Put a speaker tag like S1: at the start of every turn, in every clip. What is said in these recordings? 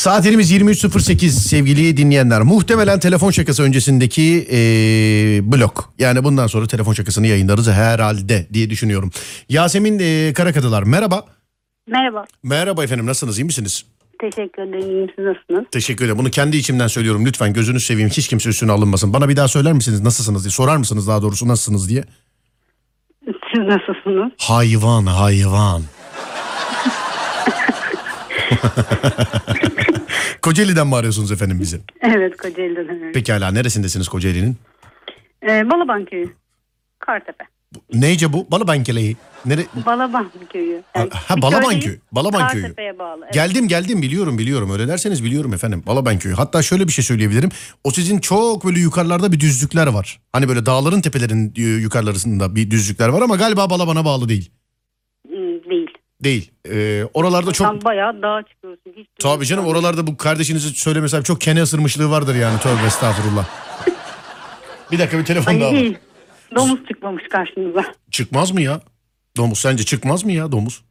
S1: Saatlerimiz 23.08 sevgili dinleyenler. Muhtemelen telefon şakası öncesindeki ee, blok. Yani bundan sonra telefon şakasını yayınlarız herhalde diye düşünüyorum. Yasemin ee, Karakadılar merhaba.
S2: Merhaba.
S1: Merhaba efendim nasılsınız iyi misiniz?
S2: Teşekkür ederim. İyiyim. Siz nasılsınız?
S1: Teşekkür ederim. Bunu kendi içimden söylüyorum. Lütfen gözünüz seveyim. Hiç kimse üstüne alınmasın. Bana bir daha söyler misiniz nasılsınız diye. Sorar mısınız daha doğrusu nasılsınız diye.
S2: Siz nasılsınız?
S1: Hayvan hayvan. Kocaeli'den mi arıyorsunuz efendim bizi?
S2: Evet Kocaeli'den. arıyorum.
S1: Pekala neresindesiniz Kocaeli'nin?
S2: Ee, Balaban köyü. Kartepe.
S1: Neyce bu? Balaban Keleği. Nere...
S2: Balaban köyü.
S1: Ha,
S2: Yani
S1: ha, Balaban
S2: köy değil,
S1: köyü, Balaban köyü.
S2: Kartepe'ye bağlı. Evet.
S1: Geldim geldim biliyorum biliyorum öyle derseniz biliyorum efendim Balaban köyü. Hatta şöyle bir şey söyleyebilirim. O sizin çok böyle yukarılarda bir düzlükler var. Hani böyle dağların tepelerinin e, yukarılarında bir düzlükler var ama galiba Balaban'a bağlı değil.
S2: Hmm, Değil.
S1: Değil. Ee, oralarda çok...
S2: Sen bayağı dağa çıkıyorsun. Hiç
S1: Tabii canım oralarda bu kardeşinizi söylemesem çok kene ısırmışlığı vardır yani tövbe estağfurullah. bir dakika bir telefon
S2: Ay,
S1: daha var.
S2: iyi. Domuz çıkmamış karşınıza.
S1: Çıkmaz mı ya? Domuz sence çıkmaz mı ya domuz?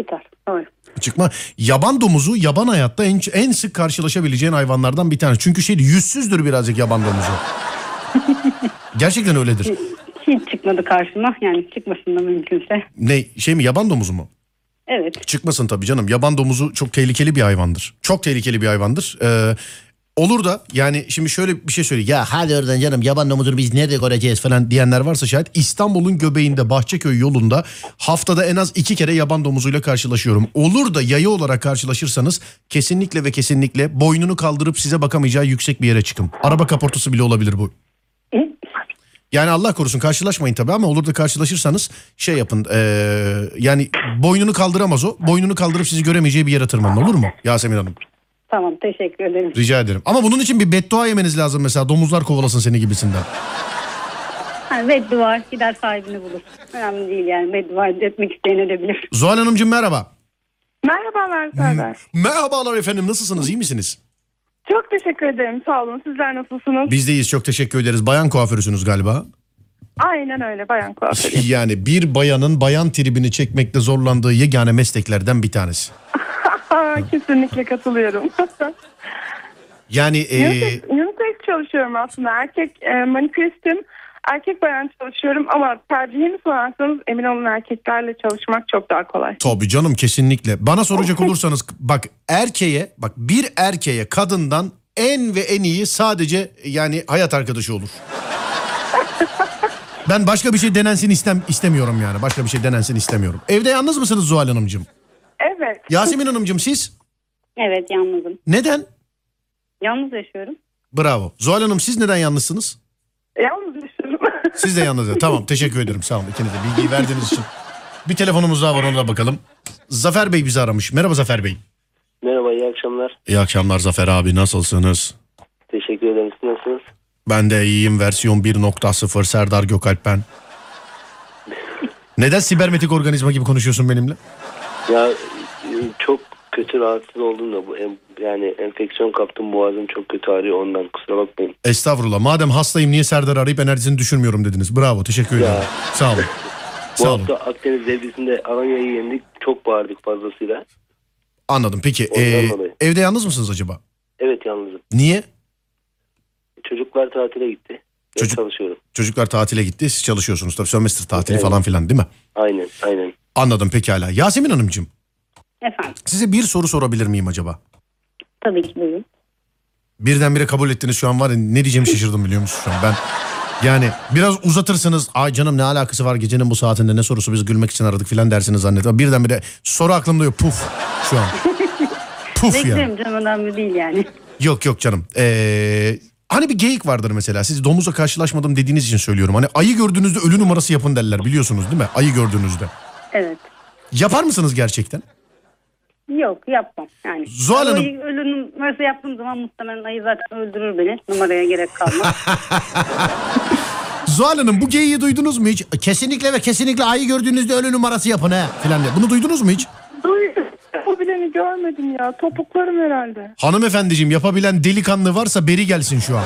S2: Çıkar. Doğru.
S1: Çıkma. Yaban domuzu yaban hayatta en, en sık karşılaşabileceğin hayvanlardan bir tanesi. Çünkü şey yüzsüzdür birazcık yaban domuzu. Gerçekten öyledir.
S2: Hiç çıkmadı karşıma. Yani çıkmasın da mümkünse.
S1: Ne şey mi yaban domuzu mu?
S2: Evet.
S1: Çıkmasın tabii canım. Yaban domuzu çok tehlikeli bir hayvandır. Çok tehlikeli bir hayvandır. Ee, olur da yani şimdi şöyle bir şey söyleyeyim. Ya hadi oradan canım yaban domuzunu biz nerede göreceğiz falan diyenler varsa şayet İstanbul'un göbeğinde Bahçeköy yolunda haftada en az iki kere yaban domuzuyla karşılaşıyorum. Olur da yayı olarak karşılaşırsanız kesinlikle ve kesinlikle boynunu kaldırıp size bakamayacağı yüksek bir yere çıkın. Araba kaportası bile olabilir bu.
S2: Hı?
S1: Yani Allah korusun karşılaşmayın tabii ama olur da karşılaşırsanız şey yapın. eee, yani boynunu kaldıramaz o. Boynunu kaldırıp sizi göremeyeceği bir yere tırmanın olur mu Yasemin Hanım?
S2: Tamam teşekkür ederim.
S1: Rica ederim. Ama bunun için bir beddua yemeniz lazım mesela domuzlar kovalasın seni gibisinden.
S2: Ha, beddua gider sahibini bulur. Önemli değil yani beddua etmek isteyen edebilir.
S1: Zuhal Hanımcığım merhaba.
S3: Merhabalar Serdar.
S1: Merhabalar efendim nasılsınız iyi misiniz?
S3: Çok teşekkür ederim. Sağ olun. Sizler nasılsınız?
S1: Biz deyiz çok teşekkür ederiz. Bayan kuaförüsünüz galiba.
S3: Aynen öyle bayan kuaförü.
S1: Yani bir şey- bayanın bayan tribini çekmekte zorlandığı yegane mesleklerden bir tanesi.
S3: Kesinlikle katılıyorum.
S1: Yani eee,
S3: Unisex- Unisex çalışıyorum aslında. Erkek e, maniküristim. Erkek bayan çalışıyorum ama tercihimi sorarsanız emin olun erkeklerle çalışmak çok daha kolay.
S1: Tabii canım kesinlikle. Bana soracak olursanız bak erkeğe bak bir erkeğe kadından en ve en iyi sadece yani hayat arkadaşı olur. Ben başka bir şey denensin istem istemiyorum yani. Başka bir şey denensin istemiyorum. Evde yalnız mısınız Zuhal Hanımcığım?
S3: Evet.
S1: Yasemin Hanımcığım siz?
S2: Evet yalnızım.
S1: Neden?
S2: Yalnız yaşıyorum.
S1: Bravo. Zuhal Hanım siz neden yalnızsınız?
S3: Yalnız yaşıyorum.
S1: Siz de yalnız. tamam teşekkür ederim sağ olun ikinize bilgiyi verdiğiniz için. Bir telefonumuz daha var ona da bakalım. Zafer Bey bizi aramış. Merhaba Zafer Bey.
S4: Merhaba iyi akşamlar.
S1: İyi akşamlar Zafer abi nasılsınız?
S4: Teşekkür ederim. Siz nasılsınız?
S1: Ben de iyiyim versiyon 1.0 Serdar Gökalp ben. Neden sibermetik organizma gibi konuşuyorsun benimle?
S4: Ya e, çok kötü rahatsız oldum da bu en- yani enfeksiyon kaptım boğazım çok kötü ağrıyor ondan kusura bakmayın.
S1: Estağfurullah. Madem hastayım niye Serdar arayıp enerjisini düşürmüyorum dediniz. Bravo. Teşekkür ederim. Sağ olun.
S4: Bu
S1: Sağ olun.
S4: hafta Akdeniz derbisinde Alanya'yı yendik. Çok bağırdık fazlasıyla.
S1: Anladım. Peki
S4: Ondan
S1: ee,
S4: dolayı.
S1: evde yalnız mısınız acaba?
S4: Evet yalnızım.
S1: Niye?
S4: Çocuklar tatile gitti. Ben
S1: Çocuk-
S4: çalışıyorum.
S1: Çocuklar tatile gitti. Siz çalışıyorsunuz tabii. Sömestr tatili falan filan değil mi?
S4: Aynen aynen.
S1: Anladım pekala. Yasemin Hanımcığım
S2: Efendim
S1: size bir soru sorabilir miyim acaba?
S2: tabii ki buyurun.
S1: Birdenbire kabul ettiniz şu an var ya ne diyeceğimi şaşırdım biliyor musun şu an ben. Yani biraz uzatırsınız. Ay canım ne alakası var gecenin bu saatinde ne sorusu biz gülmek için aradık filan dersiniz zannettim. Ama Birdenbire soru aklımda yok puf şu an. Puf ya.
S2: Beklerim canım önemli değil yani.
S1: Yok yok canım. Ee, hani bir geyik vardır mesela siz domuzla karşılaşmadım dediğiniz için söylüyorum. Hani ayı gördüğünüzde ölü numarası yapın derler biliyorsunuz değil mi? Ayı gördüğünüzde.
S2: Evet.
S1: Yapar mısınız gerçekten?
S2: Yok yapmam yani.
S1: Zuhal Hanım-
S2: Ayı ölü numarası yaptığım zaman muhtemelen ayı zaten öldürür beni. Numaraya gerek kalmaz.
S1: Zuhal Hanım bu geyiği duydunuz mu hiç? Kesinlikle ve kesinlikle ayı gördüğünüzde ölü numarası yapın he filan diye. Bunu duydunuz mu hiç?
S3: Duy- Yapabileni görmedim ya. Topuklarım herhalde.
S1: Hanımefendiciğim yapabilen delikanlı varsa beri gelsin şu an.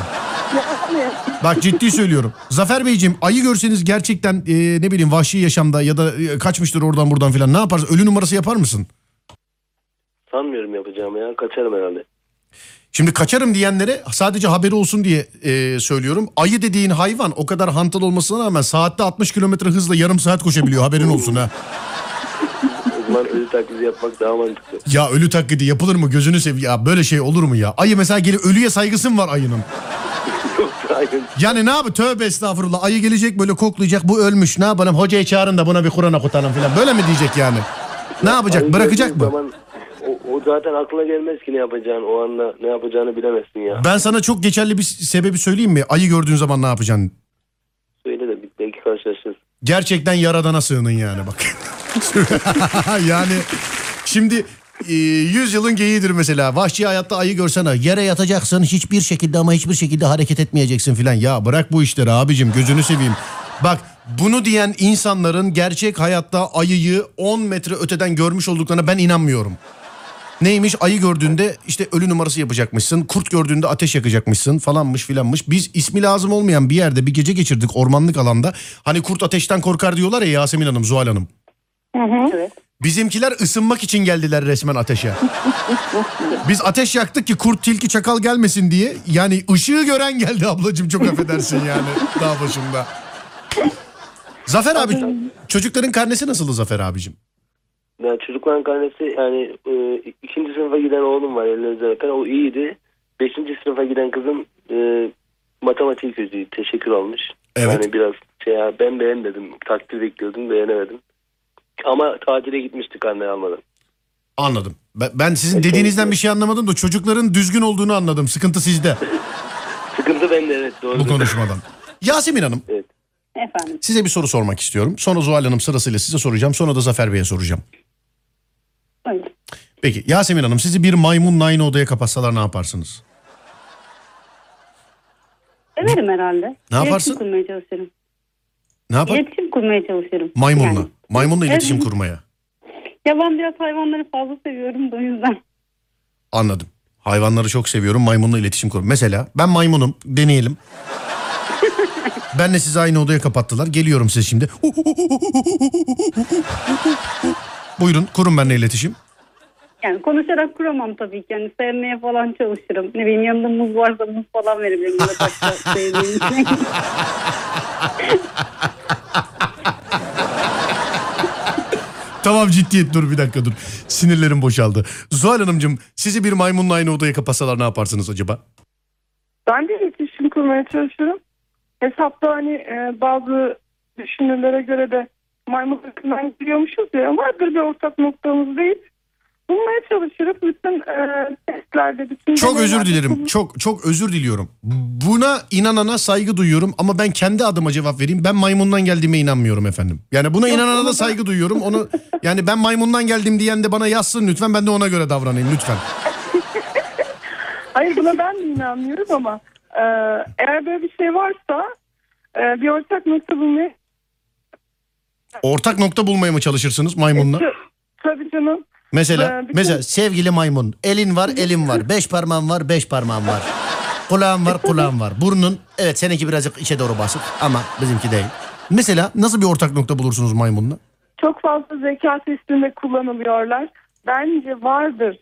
S1: Bak ciddi söylüyorum. Zafer Beyciğim ayı görseniz gerçekten e, ne bileyim vahşi yaşamda ya da e, kaçmıştır oradan buradan filan ne yaparsın? Ölü numarası yapar mısın?
S4: Sanmıyorum yapacağımı ya. Kaçarım herhalde.
S1: Şimdi kaçarım diyenlere sadece haberi olsun diye e, söylüyorum. Ayı dediğin hayvan o kadar hantal olmasına rağmen saatte 60 kilometre hızla yarım saat koşabiliyor haberin olsun ha.
S4: O zaman ölü taklidi yapmak daha mantıklı.
S1: Ya ölü taklidi yapılır mı gözünü seveyim ya böyle şey olur mu ya? Ayı mesela gelip ölüye saygısın var ayının.
S4: Yok hayır.
S1: Yani ne yapı tövbe estağfurullah ayı gelecek böyle koklayacak bu ölmüş ne yapalım hocayı çağırın da buna bir Kur'an okutalım falan böyle mi diyecek yani? Ne yapacak
S4: Ayı
S1: bırakacak
S4: gördüğün
S1: mı?
S4: Zaman, o, o zaten aklına gelmez ki ne yapacağını. O anda ne yapacağını bilemezsin ya.
S1: Ben sana çok geçerli bir sebebi söyleyeyim mi? Ayı gördüğün zaman ne yapacaksın?
S4: Söyle de bir- belki karşılaşırız.
S1: Gerçekten yaradana sığının yani bak. yani şimdi e, yüzyılın geyiğidir mesela. Vahşi hayatta ayı görsen ha, yere yatacaksın hiçbir şekilde ama hiçbir şekilde hareket etmeyeceksin filan. Ya bırak bu işleri abicim gözünü seveyim. Bak bunu diyen insanların gerçek hayatta ayıyı 10 metre öteden görmüş olduklarına ben inanmıyorum. Neymiş ayı gördüğünde işte ölü numarası yapacakmışsın. Kurt gördüğünde ateş yakacakmışsın falanmış filanmış. Biz ismi lazım olmayan bir yerde bir gece geçirdik ormanlık alanda. Hani kurt ateşten korkar diyorlar ya Yasemin Hanım, Zuhal Hanım.
S2: Evet.
S1: Bizimkiler ısınmak için geldiler resmen ateşe. Biz ateş yaktık ki kurt, tilki, çakal gelmesin diye. Yani ışığı gören geldi ablacığım çok affedersin yani dağ başında. Zafer abi çocukların karnesi nasıldı Zafer abicim?
S4: Yani çocukların karnesi yani e, ikinci sınıfa giden oğlum var ellerinize öpen. O iyiydi. Beşinci sınıfa giden kızım e, matematik yüzüğü teşekkür almış.
S1: Evet.
S4: Yani biraz şey ya, ben beğenmedim. Takdir bekliyordum beğenemedim. Ama tatile gitmiştik anne almadan.
S1: Anladım. Ben, ben sizin dediğinizden bir şey anlamadım da çocukların düzgün olduğunu anladım. Sıkıntı sizde
S4: Sıkıntı bende evet doğru.
S1: bu konuşmadan. Yasemin Hanım
S4: Evet.
S2: Efendim.
S1: size bir soru sormak istiyorum. Sonra Zuhal Hanım sırasıyla size soracağım. Sonra da Zafer Bey'e soracağım.
S2: Buyurun.
S1: Peki Yasemin Hanım sizi bir maymunla aynı odaya kapatsalar ne yaparsınız?
S2: Severim herhalde.
S1: yaparsın?
S2: İletişim kurmaya çalışırım.
S1: Ne yapar?
S2: İletişim kurmaya çalışırım.
S1: Maymunla.
S2: Yani.
S1: Maymunla iletişim
S2: Evet.
S1: kurmaya.
S2: Ya ben biraz hayvanları fazla seviyorum da o yüzden.
S1: Anladım. Hayvanları çok seviyorum. Maymunla iletişim kur. Mesela ben maymunum. Deneyelim. Benle sizi aynı odaya kapattılar. Geliyorum size şimdi. Buyurun kurun benimle iletişim.
S2: Yani konuşarak kuramam tabii ki. Yani sevmeye falan çalışırım. Ne bileyim yanımda muz varsa muz falan verebilirim. Ya da başka sevdiğim şey.
S1: Tamam ciddiyet dur bir dakika dur. Sinirlerim boşaldı. Zuhal Hanımcığım sizi bir maymunla aynı odaya kapatsalar ne yaparsınız acaba?
S3: Ben de iletişim kurmaya çalışıyorum. Hesapta hani e, bazı düşünürlere göre de maymun ırkından giriyormuşuz ya ama bir bir ortak noktamız değil. Bulmaya çalışırız. Bütün e, testlerde, bütün
S1: Çok özür
S3: deneylerde
S1: dilerim. Çok çok özür diliyorum. Buna inanana saygı duyuyorum ama ben kendi adıma cevap vereyim. Ben maymundan geldiğime inanmıyorum efendim. Yani buna inanana da saygı duyuyorum. Onu yani ben maymundan geldim diyen de bana yazsın lütfen. Ben de ona göre davranayım lütfen.
S3: Hayır buna ben de inanmıyorum ama e, eğer böyle bir şey varsa e, bir ortak nokta bulmaya
S1: Ortak nokta bulmaya mı çalışırsınız maymunla?
S3: tabii canım.
S1: Mesela
S3: Ee, bütün-
S1: mesela sevgili maymun elin var elin var. Beş parmağın var beş parmağın var. Kulağın var kulağın var. Burnun evet seninki birazcık içe doğru basık ama bizimki değil. Mesela nasıl bir ortak nokta bulursunuz maymunla?
S3: Çok fazla zeka testinde kullanılıyorlar. Bence vardır.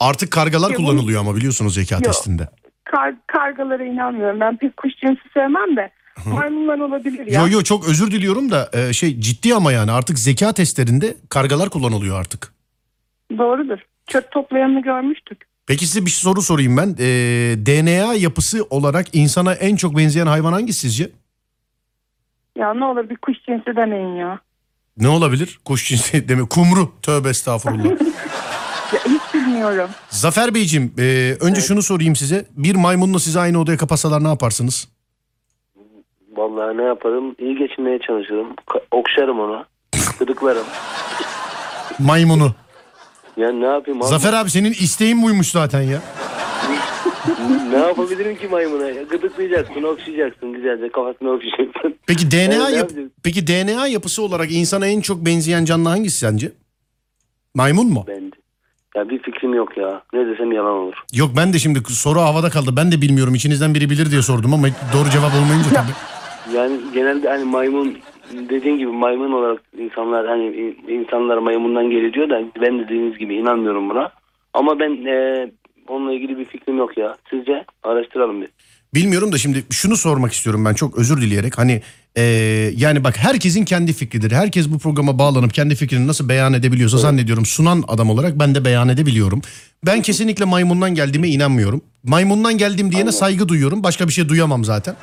S1: Artık kargalar
S3: Ya bunu-
S1: kullanılıyor ama biliyorsunuz zeka testinde.
S3: Kar, kargalara inanmıyorum. Ben pek kuş cinsi sevmem de. Maymunlar olabilir ya.
S1: Yo yo çok özür diliyorum da e, şey ciddi ama yani artık zeka testlerinde kargalar kullanılıyor artık.
S3: Doğrudur. Çöp toplayanını görmüştük.
S1: Peki size bir soru sorayım ben. E, DNA yapısı olarak insana en çok benzeyen hayvan hangisi sizce?
S3: Ya ne olur bir kuş cinsi demeyin ya.
S1: Ne olabilir? Kuş cinsi demek. Kumru. Tövbe estağfurullah.
S3: ya hiç bilmiyorum.
S1: Zafer Beyciğim e, önce şunu sorayım size. Bir maymunla sizi aynı odaya kapatsalar ne yaparsınız?
S4: Vallahi ne yaparım? İyi geçinmeye çalışırım. Ka- okşarım onu. Gıdıklarım.
S1: Maymunu.
S4: Yani ne yapayım? abi?
S1: Zafer abi senin isteğin buymuş zaten ya.
S4: ne yapabilirim ki maymuna? Ya Gıdıklayacaksın, okşayacaksın güzelce. Kafasını okşayacaksın.
S1: Peki DNA
S4: Evet, ne
S1: yap-
S4: yapacağız?
S1: Peki DNA yapısı olarak insana en çok benzeyen canlı hangisi sence? Maymun mu?
S4: Bence. Ya bir fikrim yok ya. Ne desem yalan olur.
S1: Yok ben de şimdi soru havada kaldı. Ben de bilmiyorum. İçinizden biri bilir diye sordum ama doğru cevap olmayınca tabii.
S4: Yani genelde hani maymun dediğin gibi maymun olarak insanlar hani in- insanlar maymundan geliyor diyor da ben dediğiniz gibi inanmıyorum buna. Ama ben e, Onunla ilgili bir fikrim yok ya. Sizce araştıralım bir.
S1: Bilmiyorum da şimdi şunu sormak istiyorum ben çok özür dileyerek. Hani e, yani bak herkesin kendi fikridir. Herkes bu programa bağlanıp kendi fikrini nasıl beyan edebiliyorsa zannediyorum sunan adam olarak ben de beyan edebiliyorum. Ben kesinlikle maymundan geldiğime inanmıyorum. Maymundan geldim diyene saygı duyuyorum. Başka bir şey duyamam zaten.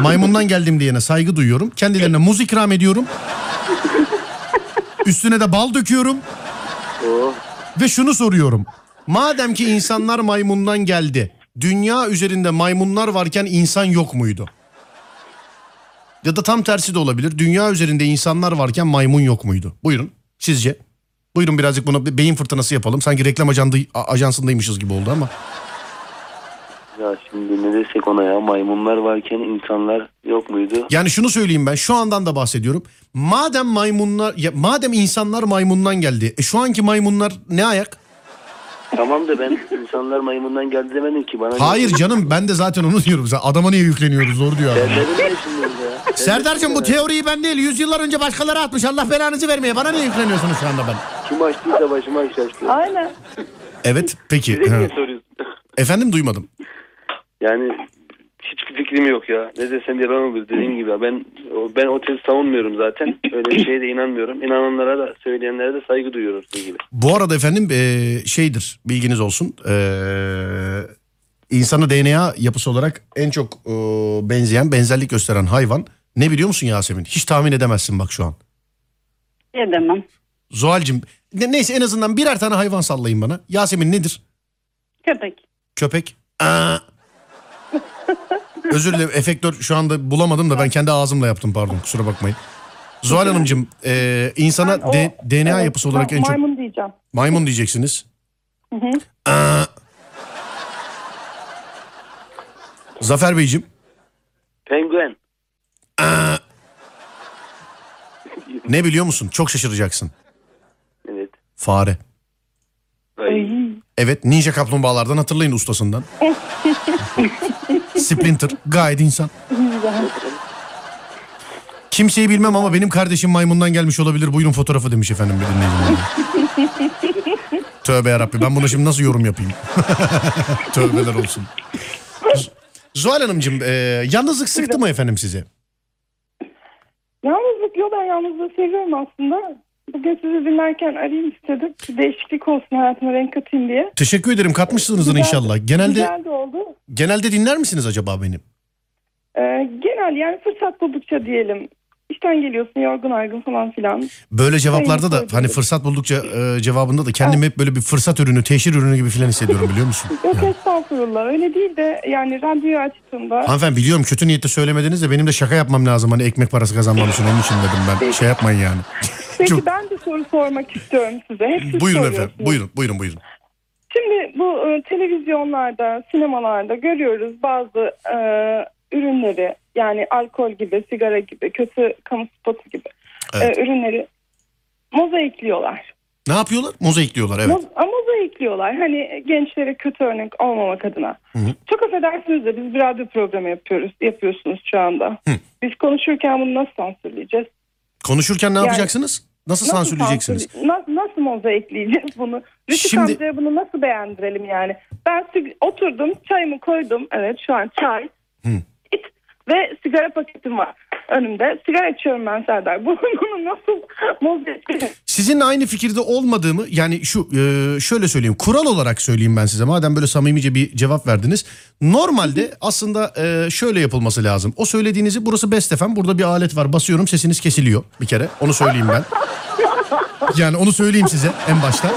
S1: Maymundan geldim diyene saygı duyuyorum. Kendilerine muz ikram ediyorum. Üstüne de bal döküyorum.
S4: Oo.
S1: Ve şunu soruyorum. Madem ki insanlar maymundan geldi. Dünya üzerinde maymunlar varken insan yok muydu? Ya da tam tersi de olabilir. Dünya üzerinde insanlar varken maymun yok muydu? Buyurun sizce. Buyurun birazcık bunu bir beyin fırtınası yapalım. Sanki reklam ajandı, a- ajansındaymışız gibi oldu ama.
S4: Ya şimdi ne desek ona ya maymunlar varken insanlar yok muydu?
S1: Yani şunu söyleyeyim ben şu andan da bahsediyorum. Madem maymunlar ya madem insanlar maymundan geldi. E şu anki maymunlar ne ayak?
S4: Tamam da ben insanlar maymundan geldi demedim ki bana.
S1: Hayır canım ben de zaten onu diyorum. Zaten Adama niye yükleniyoruz doğru diyor. adam.
S4: Derlerim ne şimdi ya?
S1: Serdar'cığım bu teoriyi ben değil yüzyıllar önce başkaları atmış. Allah belanızı vermeye. Bana niye yükleniyorsunuz şu anda ben?
S4: Kim açtıysa başıma iş açtı.
S3: Aynen.
S1: Evet peki.
S4: Size niye
S1: Evet.
S4: soruyorsun?
S1: Efendim duymadım.
S4: Yani hiçbir fikrim yok ya. Ne desem yalan olur dediğim gibi. ya. Ben ben o tezi savunmuyorum zaten. Öyle bir şeye de inanmıyorum. İnananlara da söyleyenlere de saygı duyuyoruz dediğim gibi.
S1: Bu arada efendim eee, şeydir bilginiz olsun. E, Eee insanı DNA yapısı olarak en çok eee, benzeyen benzerlik gösteren hayvan ne biliyor musun Yasemin? Hiç tahmin edemezsin bak şu an.
S2: Edemem.
S1: Zuhal'cim ne- neyse en azından birer tane hayvan sallayın bana. Yasemin nedir?
S2: Köpek.
S1: Köpek. Aa. Özür dilerim efektör şu anda bulamadım da ben kendi ağzımla yaptım pardon kusura bakmayın. Zuhal Hanımcığım e, insana
S3: Ben o-
S1: de- DNA
S3: Evet,
S1: yapısı olarak
S3: ma-
S1: en çok
S3: Maymun diyeceğim.
S1: maymun diyeceksiniz.
S3: hı.
S1: Aa. Zafer Beyciğim
S4: Penguen.
S1: ne biliyor musun? Çok şaşıracaksın.
S4: Evet.
S1: Fare.
S4: Ay.
S1: Evet ninja kaplumbağalardan hatırlayın ustasından. Splinter gayet insan. Kimseyi bilmem ama benim kardeşim maymundan gelmiş olabilir. Buyurun fotoğrafı demiş efendim bir dinleyicimiz. Tövbe yarabbi ben buna şimdi nasıl yorum yapayım? Tövbeler olsun. Z- Zuhal Hanımcığım e, yalnızlık sıktı mı efendim sizi?
S3: Yalnızlık yok ben yalnızlığı seviyorum aslında. Bugün sizi dinlerken arayayım istedim. Bir değişiklik olsun hayatıma renk katayım diye.
S1: Teşekkür ederim katmışsınızdır
S3: Güzel-
S1: inşallah. Genelde
S3: Güzel de oldu.
S1: genelde dinler misiniz acaba benim?
S3: Ee, genel yani fırsat buldukça diyelim. İşten geliyorsun yorgun argın falan filan.
S1: Böyle cevaplarda da
S3: Sayın
S1: hani fırsat buldukça e, cevabında da kendimi hep böyle bir fırsat ürünü, teşhir ürünü gibi filan hissediyorum biliyor musun?
S3: Yok
S1: Yani.
S3: estağfurullah öyle değil de yani radyoyu açtığımda
S1: Hanımefendi biliyorum kötü niyetle söylemediniz de benim de şaka yapmam lazım hani ekmek parası kazanmam için onun için dedim ben. Şey yapmayın yani.
S3: Peki
S1: Çok-
S3: ben de soru sormak istiyorum size. Hep siz
S1: Buyurun
S3: soruyorsunuz.
S1: efendim. Buyurun buyurun buyurun.
S3: Şimdi bu e, televizyonlarda, sinemalarda görüyoruz bazı e, ürünleri. Yani alkol gibi, sigara gibi, kötü kamu spotu gibi e,
S1: Evet.
S3: ürünleri mozaikliyorlar.
S1: Ne yapıyorlar? Mozaikliyorlar evet.
S3: Moz- a, mozaikliyorlar. Hani gençlere kötü örnek olmamak adına.
S1: hı.
S3: Çok affedersiniz de biz bir radyo programı yapıyoruz, yapıyorsunuz şu anda. Biz konuşurken bunu nasıl sansürleyeceğiz?
S1: Konuşurken ne
S3: Yani-
S1: yapacaksınız? Nasıl, sansürleyeceksiniz?
S3: sansür- na- nasıl mozaikleyeceğiz bunu? Rütük
S1: Şimdi-
S3: amcaya bunu nasıl beğendirelim yani? Ben sig- oturdum, çayımı koydum. Evet şu an çay. İt ve sigara paketim var önümde. Sigara içiyorum ben Serdar. Bunu, bunu nasıl mozaikleyeceğiz?
S1: Sizin aynı fikirde olmadığımı yani şu e, şöyle söyleyeyim kural olarak söyleyeyim ben size madem böyle samimice bir cevap verdiniz. Normalde aslında e, şöyle yapılması lazım. O söylediğinizi burası Best FM burada bir alet var basıyorum sesiniz kesiliyor bir kere onu söyleyeyim ben. Yani onu söyleyeyim size en başta.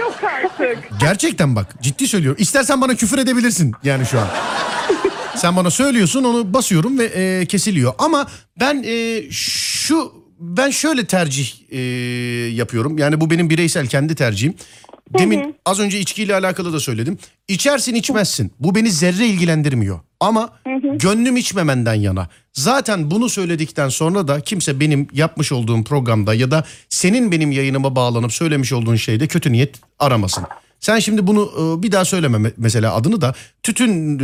S3: Yok artık.
S1: Gerçekten bak ciddi söylüyorum. İstersen bana küfür edebilirsin yani şu an. Sen bana söylüyorsun onu basıyorum ve e, kesiliyor. Ama ben e, şu ben şöyle tercih e, yapıyorum. Yani bu benim bireysel kendi tercihim. Demin az önce içkiyle alakalı da söyledim. İçersin içmezsin. Bu beni zerre ilgilendirmiyor. Ama gönlüm içmemenden yana. Zaten bunu söyledikten sonra da kimse benim yapmış olduğum programda ya da senin benim yayınıma bağlanıp söylemiş olduğun şeyde kötü niyet aramasın. Sen şimdi bunu e, bir daha söyleme me- mesela adını da tütün e,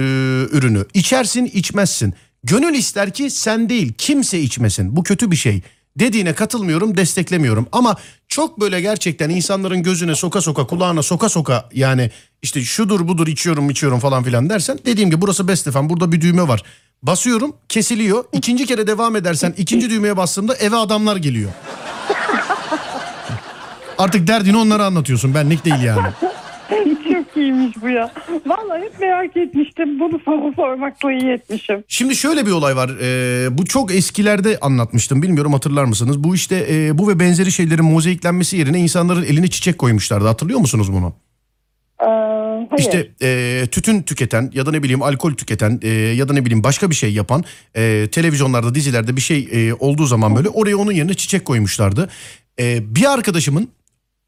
S1: ürünü içersin içmezsin. Gönül ister ki sen değil kimse içmesin bu kötü bir şey. Dediğine katılmıyorum desteklemiyorum ama çok böyle gerçekten insanların gözüne soka soka kulağına soka soka yani işte şudur budur içiyorum içiyorum falan filan dersen dediğim gibi burası Best FM burada bir düğme var. Basıyorum kesiliyor ikinci kere devam edersen ikinci düğmeye bastığımda eve adamlar geliyor. Artık derdini onlara anlatıyorsun benlik değil yani.
S3: Çok iyiymiş bu ya. Vallahi hep merak etmiştim. Bunu sana sormakla iyi etmişim.
S1: Şimdi şöyle bir olay var. Ee, bu çok eskilerde anlatmıştım. Bilmiyorum hatırlar mısınız? Bu işte e, bu ve benzeri şeylerin mozaiklenmesi yerine insanların eline çiçek koymuşlardı. Hatırlıyor musunuz bunu?
S3: Ee, hayır.
S1: İşte e, tütün tüketen ya da ne bileyim alkol tüketen e, ya da ne bileyim başka bir şey yapan e, televizyonlarda dizilerde bir şey e, olduğu zaman böyle oraya onun yerine çiçek koymuşlardı. E, bir arkadaşımın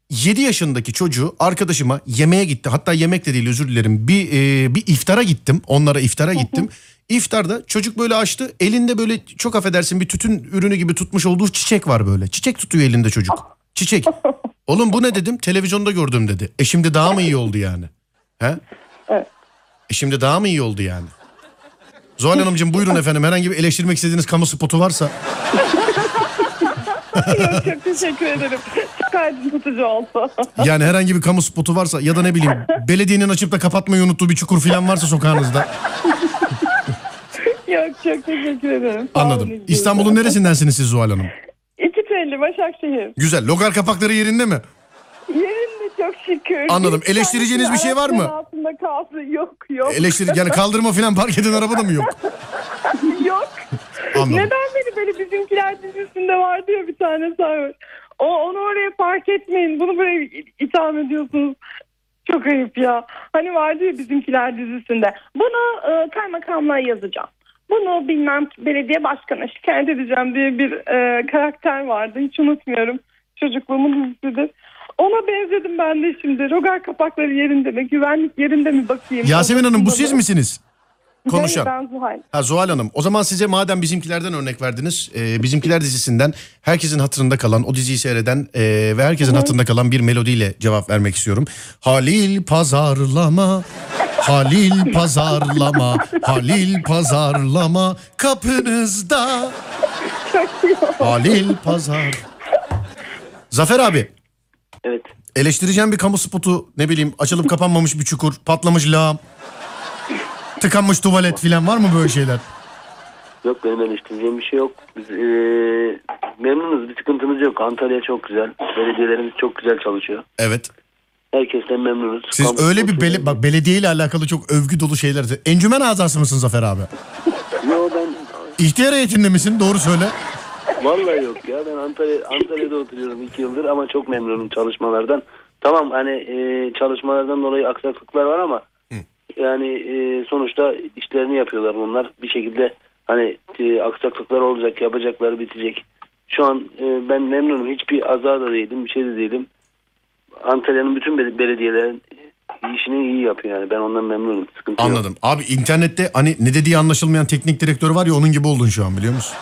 S1: 7 yaşındaki çocuğu arkadaşıma yemeğe gitti. Hatta yemek de değil özür dilerim. Bir e, bir iftara gittim. Onlara iftara gittim. İftarda çocuk böyle açtı. Elinde böyle çok affedersin bir tütün ürünü gibi tutmuş olduğu çiçek var böyle. Çiçek tutuyor elinde çocuk. Çiçek. Oğlum bu ne dedim? Televizyonda gördüm dedi. E şimdi daha mı iyi oldu yani? He?
S3: Evet.
S1: E şimdi daha mı iyi oldu yani? Zuhal Hanımcığım buyurun efendim. Herhangi bir eleştirmek istediğiniz kamu spotu varsa.
S3: Yok, çok teşekkür ederim. Çok aydınlatıcı oldu.
S1: Yani herhangi bir kamu spotu varsa ya da ne bileyim belediyenin açıp da kapatmayı unuttuğu bir çukur falan varsa sokağınızda.
S3: Yok çok teşekkür ederim. Sağ olun
S1: Anladım.
S3: ilginiz
S1: İstanbul'un
S3: için.
S1: neresindensiniz siz Zuhal Hanım?
S3: 250 Başakşehir.
S1: Güzel. Logar kapakları yerinde mi?
S3: Yerinde çok şükür.
S1: Anladım.
S3: Bir
S1: Eleştireceğiniz bir şey var mı?
S3: tanesi Altında kaldı. Yok yok.
S1: Eleştiri yani kaldırma falan park eden arabada mı yok?
S3: yok.
S1: Anladım.
S3: Neden beni böyle bizimkiler dizisinde var diyor bir tane sahne. O, onu oraya fark etmeyin. Bunu böyle i- itham ediyorsunuz. Çok ayıp ya. Hani vardı ya bizimkiler dizisinde. Bunu e, kaymakamlığa yazacağım. Bunu bilmem belediye başkanı şikayet edeceğim diye bir e, karakter vardı. Hiç unutmuyorum. Çocukluğumun dizisidir. Ona benzedim ben de şimdi. Rogar kapakları yerinde mi? Güvenlik yerinde mi bakayım?
S1: Yasemin Hanım bu siz misiniz? Konuşan.
S3: Hayır, ben Zuhal.
S1: Ha Zuhal Hanım o zaman size madem bizimkilerden örnek verdiniz e, bizimkiler dizisinden herkesin hatırında kalan o diziyi seyreden e, ve herkesin hatırında kalan bir melodiyle cevap vermek istiyorum. Halil pazarlama Halil pazarlama Halil pazarlama kapınızda Halil pazar Zafer abi
S4: Evet.
S1: eleştireceğim bir kamu spotu ne bileyim açılıp kapanmamış bir çukur patlamış lağım tıkanmış tuvalet filan var mı böyle şeyler?
S4: Yok benim eleştireceğim bir şey yok. Biz eee, memnunuz. Bir sıkıntımız yok. Antalya çok güzel. Belediyelerimiz çok güzel çalışıyor.
S1: Evet.
S4: Herkesten memnunuz.
S1: Siz
S4: Kamu
S1: öyle bir
S4: spotu-
S1: bele, bak belediye ile alakalı çok övgü dolu şeyler. Encümen azası mısın Zafer abi?
S4: Yo ben
S1: İhtiyar heyetinde misin? Doğru söyle.
S4: vallahi yok ya. Ben Antalya Antalya'da oturuyorum iki yıldır ama çok memnunum çalışmalardan. Tamam hani eee, çalışmalardan dolayı aksaklıklar var ama yani eee, sonuçta işlerini yapıyorlar bunlar. Bir şekilde hani eee, aksaklıklar olacak, yapacakları bitecek. Şu an eee, ben memnunum. Hiçbir azar da değilim, bir şey de değilim. Antalya'nın bütün bel- belediyeleri işini iyi yapıyor yani. Ben ondan memnunum. Sıkıntı yok.
S1: Anladım. Abi internette hani ne dediği anlaşılmayan teknik direktör var ya onun gibi oldun şu an biliyor musun?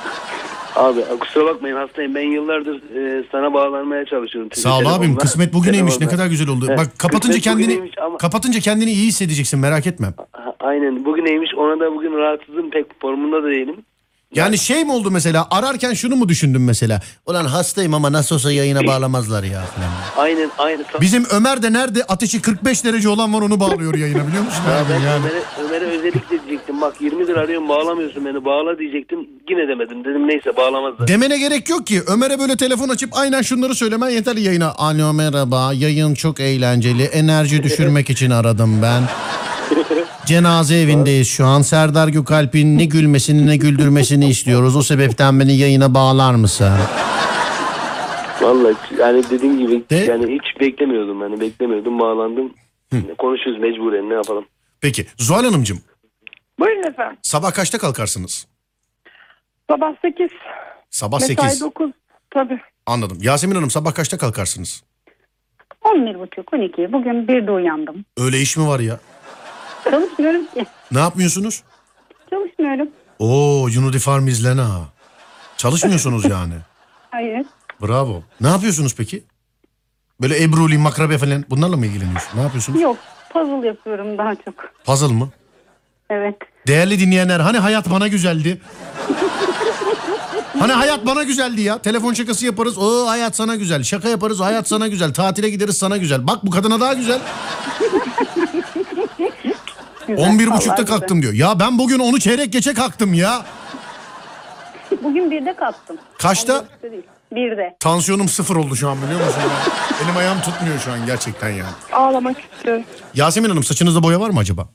S4: Abi kusura bakmayın hastayım. Ben yıllardır e, sana bağlanmaya çalışıyorum.
S1: Sağ ol abim.
S4: Telefonla.
S1: Kısmet bugüneymiş. Ne
S4: Telefonla.
S1: kadar güzel oldu.
S4: Evet.
S1: Bak kapatınca
S4: Kısmet
S1: kendini
S4: bugüneymiş ama-
S1: kapatınca kendini iyi hissedeceksin merak etme.
S4: A- Aynen bugüneymiş. Ona da bugün rahatsızım. Pek formunda da değilim.
S1: Yani şey mi oldu mesela ararken şunu mu düşündün mesela? Ulan hastayım ama nasıl olsa yayına bağlamazlar ya falan.
S4: Aynen aynı.
S1: Bizim Ömer de nerede ateşi 45 derece olan var onu bağlıyor yayına biliyor musun?
S4: ben
S1: abi yani.
S4: Ömer'e, Ömer'e özellikle diyecektim. Bak 20'dir arıyorum bağlamıyorsun beni. Bağla diyecektim. Yine demedim. Dedim neyse bağlamazlar.
S1: Demene gerek yok ki. Ömer'e böyle telefon açıp aynen şunları söylemen yeterli yayına. Alo merhaba yayın çok eğlenceli. Enerji düşürmek için aradım ben. Cenaze evindeyiz şu an. Serdar Gökalp'in ne gülmesini ne güldürmesini istiyoruz. O sebepten beni yayına bağlar mısın?
S4: Vallahi yani dediğim gibi
S1: De-
S4: yani hiç beklemiyordum. Yani beklemiyordum. Bağlandım. Konuşuruz mecburen ne yapalım.
S1: Peki Zuhal Hanımcığım
S3: Buyurun efendim.
S1: sabah kaçta kalkarsınız?
S3: Sabah 8.
S1: Sabah
S3: Mesai
S1: 8.
S3: 9 tabii.
S1: Anladım. Yasemin Hanım sabah kaçta kalkarsınız?
S2: 11.30 12. Bugün 1'de uyandım.
S1: Öyle iş mi var ya?
S2: Çalışmıyorum ki.
S1: Ne yapmıyorsunuz?
S2: Çalışmıyorum.
S1: Oo Uniform izlene ha. Çalışmıyorsunuz yani.
S2: Hayır.
S1: Bravo. Ne yapıyorsunuz peki? Böyle Ebruli, Makrabe falan bunlarla mı ilgileniyorsunuz? Ne yapıyorsunuz?
S2: Yok. Puzzle yapıyorum daha çok.
S1: Puzzle mı?
S2: Evet.
S1: Değerli dinleyenler hani hayat bana güzeldi. Hani hayat bana güzeldi ya. Telefon şakası yaparız. O hayat sana güzel. Şaka yaparız. Hayat sana güzel. Tatile gideriz sana güzel. Bak bu kadına daha güzel.
S2: Güzel,
S1: 11
S2: vallahi
S1: buçukta
S2: güzel.
S1: kalktım diyor. Ya ben bugün onu çeyrek geçe kalktım ya.
S2: Bugün birde kalktım.
S1: Kaçta?
S2: 11.30'da değil, Birde.
S1: Tansiyonum sıfır oldu şu an biliyor musun? ya? Elim ayağım tutmuyor şu an gerçekten ya.
S3: Ağlamak istiyorum.
S1: Yasemin Hanım saçınızda boya var mı acaba?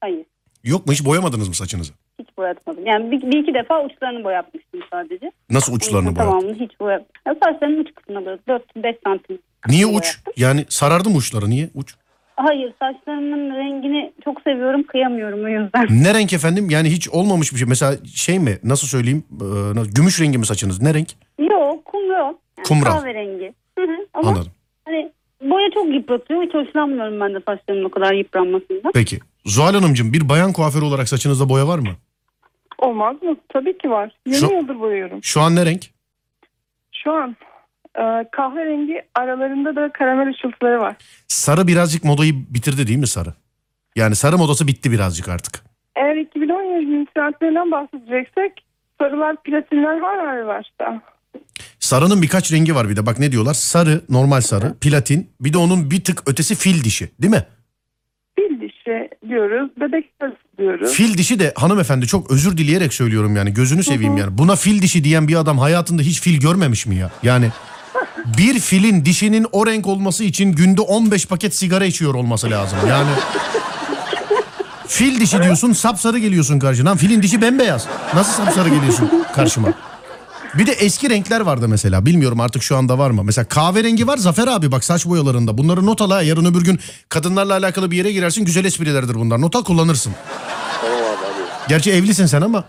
S2: Hayır.
S1: Yok mu hiç boyamadınız mı saçınızı?
S2: Hiç boyatmadım. Yani bir, bir iki defa uçlarını boyatmıştım sadece.
S1: Nasıl uçlarını
S2: Onun
S1: boyadın?
S2: Tamamını hiç boyatmadım. Ya saçlarının uç kısmına böyle 4-5 santim.
S1: Niye
S2: boya.
S1: uç? Yani sarardı mı uçları niye uç?
S2: Hayır saçlarımın rengini çok seviyorum kıyamıyorum o yüzden.
S1: Ne renk efendim? Yani hiç olmamış bir şey. Mesela şey mi nasıl söyleyeyim? Ee, nasıl- gümüş rengi mi saçınız? Ne renk?
S2: Yok kumral. Yani
S1: Kumral.
S2: Kahverengi. Hı hı. Ama
S1: Anladım.
S2: hani boya çok yıpratıyor. Hiç hoşlanmıyorum ben de saçlarımın o kadar yıpranmasından.
S1: Peki. Zuhal Hanımcığım bir bayan kuaförü olarak saçınızda boya var mı?
S3: Olmaz mı? Tabii ki var. Yeni
S1: Şu-
S3: yıldır boyuyorum.
S1: Şu an ne renk?
S3: Şu an e, kahverengi aralarında da karamel ışıltıları var.
S1: Sarı birazcık modayı bitirdi değil mi sarı? Yani sarı modası bitti birazcık artık.
S3: Eğer 2017 saatlerinden bahsedeceksek sarılar platinler var Harvard'da.
S1: Sarının birkaç rengi var bir de. Bak ne diyorlar? Sarı, normal sarı, platin. Bir de onun bir tık ötesi fil dişi değil mi?
S3: Fil dişi diyoruz, bebek sarısı diyoruz.
S1: Fil dişi de hanımefendi çok özür dileyerek söylüyorum yani gözünü seveyim yani. Buna fil dişi diyen bir adam hayatında hiç fil görmemiş mi ya? Yani bir filin dişinin o renk olması için günde 15 paket sigara içiyor olması lazım. Yani fil dişi diyorsun sapsarı geliyorsun karşına. Lan Filin dişi bembeyaz. Nasıl sapsarı geliyorsun karşıma? Bir de eski renkler vardı mesela. Bilmiyorum artık şu anda var mı? Mesela kahverengi var Zafer abi bak saç boyalarında. Bunları not al ha. Yarın öbür gün kadınlarla alakalı bir yere girersin. Güzel esprilerdir bunlar. Not al kullanırsın.
S4: Tamam abi abi.
S1: Gerçi evlisin sen ama.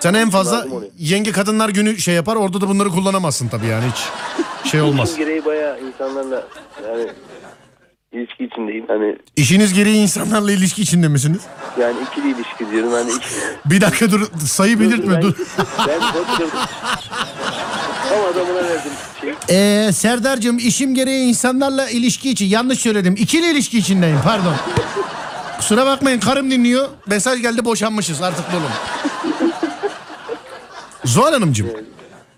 S1: Sen en fazla
S4: Lazım oluyor.
S1: yenge kadınlar günü şey yapar orada da bunları kullanamazsın tabii yani hiç şey olmaz.
S4: İşim gereği bayağı insanlarla yani ilişki içindeyim. Hani
S1: İşiniz gereği insanlarla ilişki içinde misiniz?
S4: yani ikili ilişki diyorum. Hani iki...
S1: Bir dakika dur sayı belirtme dur.
S4: Ben bakıyorum. Tam adamına verdim şey.
S1: Ee, Serdar'cığım işim gereği insanlarla ilişki için yanlış söyledim. İkili ilişki içindeyim pardon. Kusura bakmayın karım dinliyor. Mesaj geldi boşanmışız artık dolum. Zuhal Hanımcığım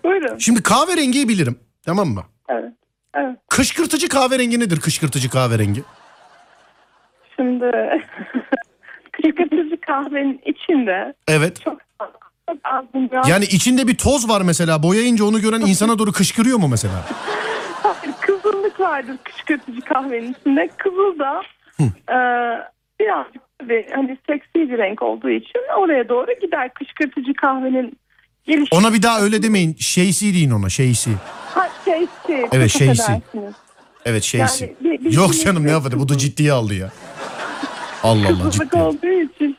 S3: Buyurun.
S1: şimdi kahverengiyi bilirim tamam mı?
S3: Evet. Evet.
S1: Kışkırtıcı kahverengi nedir kışkırtıcı kahverengi?
S3: Şimdi kışkırtıcı kahvenin içinde
S1: Evet.
S3: çok az, çok az bir yağ-
S1: Yani içinde bir toz var mesela. Boyayınca onu gören insana doğru kışkırıyor mu mesela?
S3: Hayır, kızıllık vardır kışkırtıcı kahvenin içinde. Kızıl da e, birazcık tabii hani seksi bir renk olduğu için oraya doğru gider kışkırtıcı kahvenin gelişi.
S1: Ona bir daha öyle demeyin. Şeysi deyin ona. Şeysi.
S3: Ha, şeysi. çok
S1: şeysi.
S3: affedersiniz.
S1: Evet şeysi.
S3: Yani bir- şey bir-
S1: Yok canım ne yapalım. Bu da ciddiye aldı ya. Allah Allah
S3: Kızıllık
S1: ciddi.
S3: olduğu için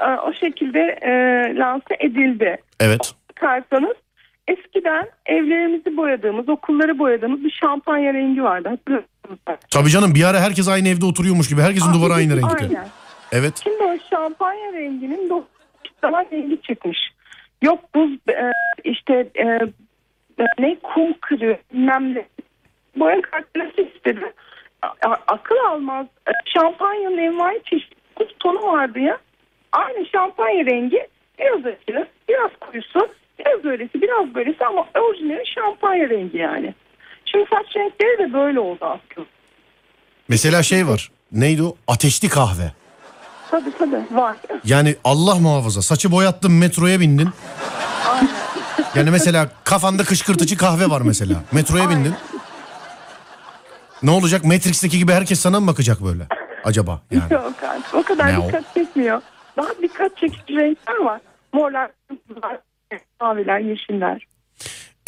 S3: e, o şekilde e, lanse edildi.
S1: Evet.
S3: bakarsanız eskiden evlerimizi boyadığımız, okulları boyadığımız bir şampanya rengi vardı. Hatırlıyorsunuz belki.
S1: Tabii canım bir ara herkes aynı evde oturuyormuş gibi. Herkesin duvarı aynı renkte.
S3: Aynen.
S1: Evet.
S3: Şimdi o şampanya renginin do- zaman rengi çıkmış. Yok buz e, işte e, e, ne kum kırıyor bilmem ne. Boya kartları istedi. A- a- akıl almaz. E, Şampanyanın envai çeşitli buz tonu vardı ya. Aynı şampanya rengi biraz açılı, biraz kuyusu, biraz öylesi, biraz böylesi ama orijinali şampanya rengi yani. Şimdi saç renkleri de böyle oldu aslında.
S1: Mesela şey var. Neydi o? Ateşli kahve.
S3: Tabii tabii var.
S1: Yani Allah muhafaza. Saçı boyattın metroya bindin. Yani mesela kafanda kışkırtıcı kahve var mesela. Metroya bindin. Ne olacak? Matrix'teki gibi herkes sana mı bakacak böyle? Acaba yani.
S3: Yok artık o kadar
S1: Ne o?
S3: dikkat çekmiyor. Daha dikkat çekici renkler var. Morlar, kırmızılar, maviler, yeşiller.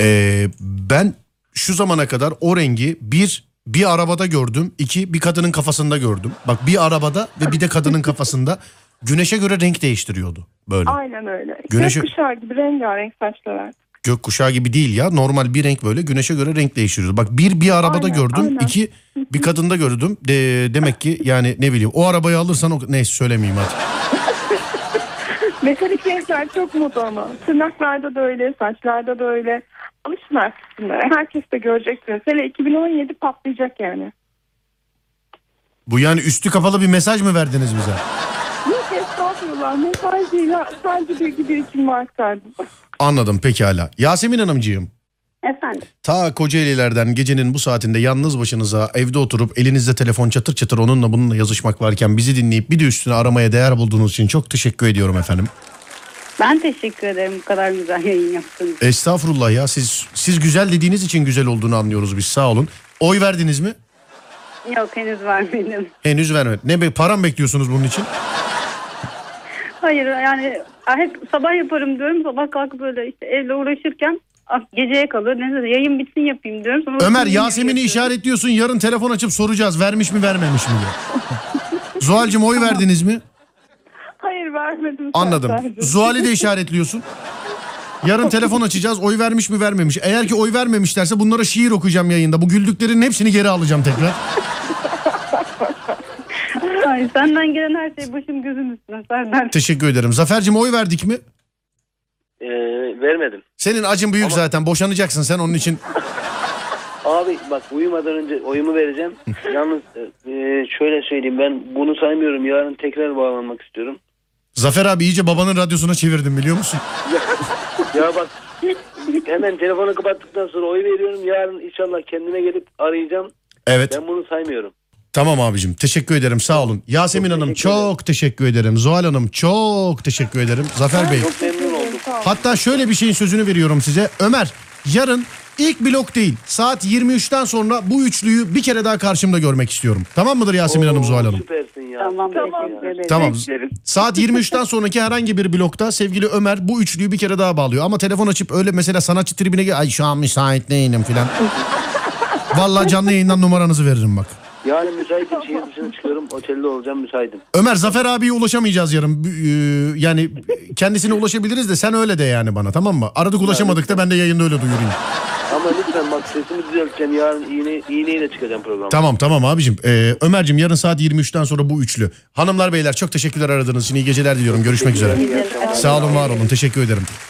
S1: Ee, ben şu zamana kadar o rengi bir bir arabada gördüm. iki bir kadının kafasında gördüm. Bak bir arabada ve bir de kadının kafasında güneşe göre renk değiştiriyordu böyle.
S3: Aynen öyle.
S1: Güneşi-
S3: Gökkuşağı gibi rengarenk saçlar.
S1: Gök kuşağı gibi değil ya. Normal bir renk böyle güneşe göre renk değiştiriyordu. Bak bir bir arabada
S3: Aynen,
S1: gördüm.
S3: aynen.
S1: iki bir kadında gördüm. De, demek ki yani ne bileyim o arabayı alırsan o neyse söylemeyeyim hadi.
S3: Metalik renkler çok moda ama. Tırnaklarda da öyle, saçlarda da öyle. Alışın artık bunlara. Herkes de göreceksiniz. Hele 2017 patlayacak yani.
S1: Bu yani üstü kapalı bir mesaj mı verdiniz bize?
S3: Yok estağfurullah. Mesaj değil. ha. Sadece bilgi birikimi aktardım.
S1: Anladım pekala. Yasemin Hanımcığım.
S2: Efendim.
S1: Ta Kocaeli'lerden gecenin bu saatinde yalnız başınıza evde oturup elinizde telefon çatır çatır onunla bununla yazışmak varken bizi dinleyip bir de üstüne aramaya değer bulduğunuz için çok teşekkür ediyorum efendim.
S2: Ben teşekkür ederim bu kadar güzel yayın yaptınız.
S1: Estağfurullah ya siz siz güzel dediğiniz için güzel olduğunu anlıyoruz biz sağ olun. Oy verdiniz mi?
S2: Yok henüz vermedim.
S1: Henüz vermedi. Ne be, para mı bekliyorsunuz bunun için?
S2: Hayır yani hep sabah yaparım diyorum. Sabah kalkıp böyle işte evle uğraşırken ah, geceye kalıyor. Neyse yayın bitsin yapayım diyorum. Sonra
S1: Ömer
S2: bakıyorum,
S1: Yasemin'i
S2: yayın yapıyorum.
S1: işaretliyorsun yarın telefon açıp soracağız vermiş mi vermemiş mi diye. Zuhal'cim oy verdiniz mi?
S2: Hayır vermedim.
S1: Anladım.
S2: sadece.
S1: Zuhal'i de işaretliyorsun. Yarın telefon açacağız. Oy vermiş mi vermemiş. Eğer ki oy vermemişlerse bunlara şiir okuyacağım yayında. Bu güldüklerinin hepsini geri alacağım tekrar.
S2: Ay, senden gelen her şey başım gözüm üstüne Serdar.
S1: Teşekkür ederim. Zafer'cim oy verdik mi?
S4: Ee, vermedim.
S1: Senin acın büyük zaten. Boşanacaksın sen onun için.
S4: Abi bak uyumadan önce oyumu vereceğim. Yalnız e, e, şöyle söyleyeyim ben bunu saymıyorum. Yarın tekrar bağlanmak istiyorum.
S1: Zafer abi iyice babanın radyosuna çevirdim biliyor musun?
S4: Ya bak hemen telefonu kapattıktan sonra oy veriyorum. Yarın inşallah kendime gelip arayacağım.
S1: Evet.
S4: Ben bunu saymıyorum.
S1: Tamam abicim. Teşekkür ederim. Sağ olun. Yasemin Hanım
S4: teşekkür ederim.
S1: çok teşekkür ederim. Zuhal Hanım çok teşekkür ederim. Zafer Bey.
S4: Çok memnun oldum.
S1: Hatta şöyle bir şeyin sözünü veriyorum size. Ömer yarın ilk blok değil saat 23'ten sonra bu üçlüyü bir kere daha karşımda görmek istiyorum. Tamam mıdır Yasemin Hanım Zuhal Hanım?
S4: Süpersin ya.
S2: Tamam,
S3: Tamam.
S2: teşekkür ederim.
S1: Tamam.
S3: Beklerim.
S1: Saat 23'ten sonraki herhangi bir blokta sevgili Ömer bu üçlüyü bir kere daha bağlıyor. Ama telefon açıp öyle mesela sanatçı tribine gel. Ay şu an müsait değilim filan. Vallahi canlı yayından numaranızı veririm bak.
S4: Yarın müsaitim. Şehir dışına çıkıyorum. Otelde olacağım müsaitim.
S1: Ömer Zafer abiye ulaşamayacağız yarın. Ee, Yani kendisine ulaşabiliriz de sen öyle de yani bana tamam mı? Aradık ulaşamadık da ben de yayında öyle duyurayım.
S4: Ama lütfen bak sesimi düzelteceğim. Yarın iğne, iğneyle çıkacağım programa.
S1: Tamam tamam abicim. Ee, Ömer'cim yarın saat 23'ten sonra bu üçlü. Hanımlar beyler çok teşekkürler aradığınız için iyi geceler diliyorum. Görüşmek üzere.
S4: İyi akşamlar.
S1: Sağ olun var olun teşekkür ederim.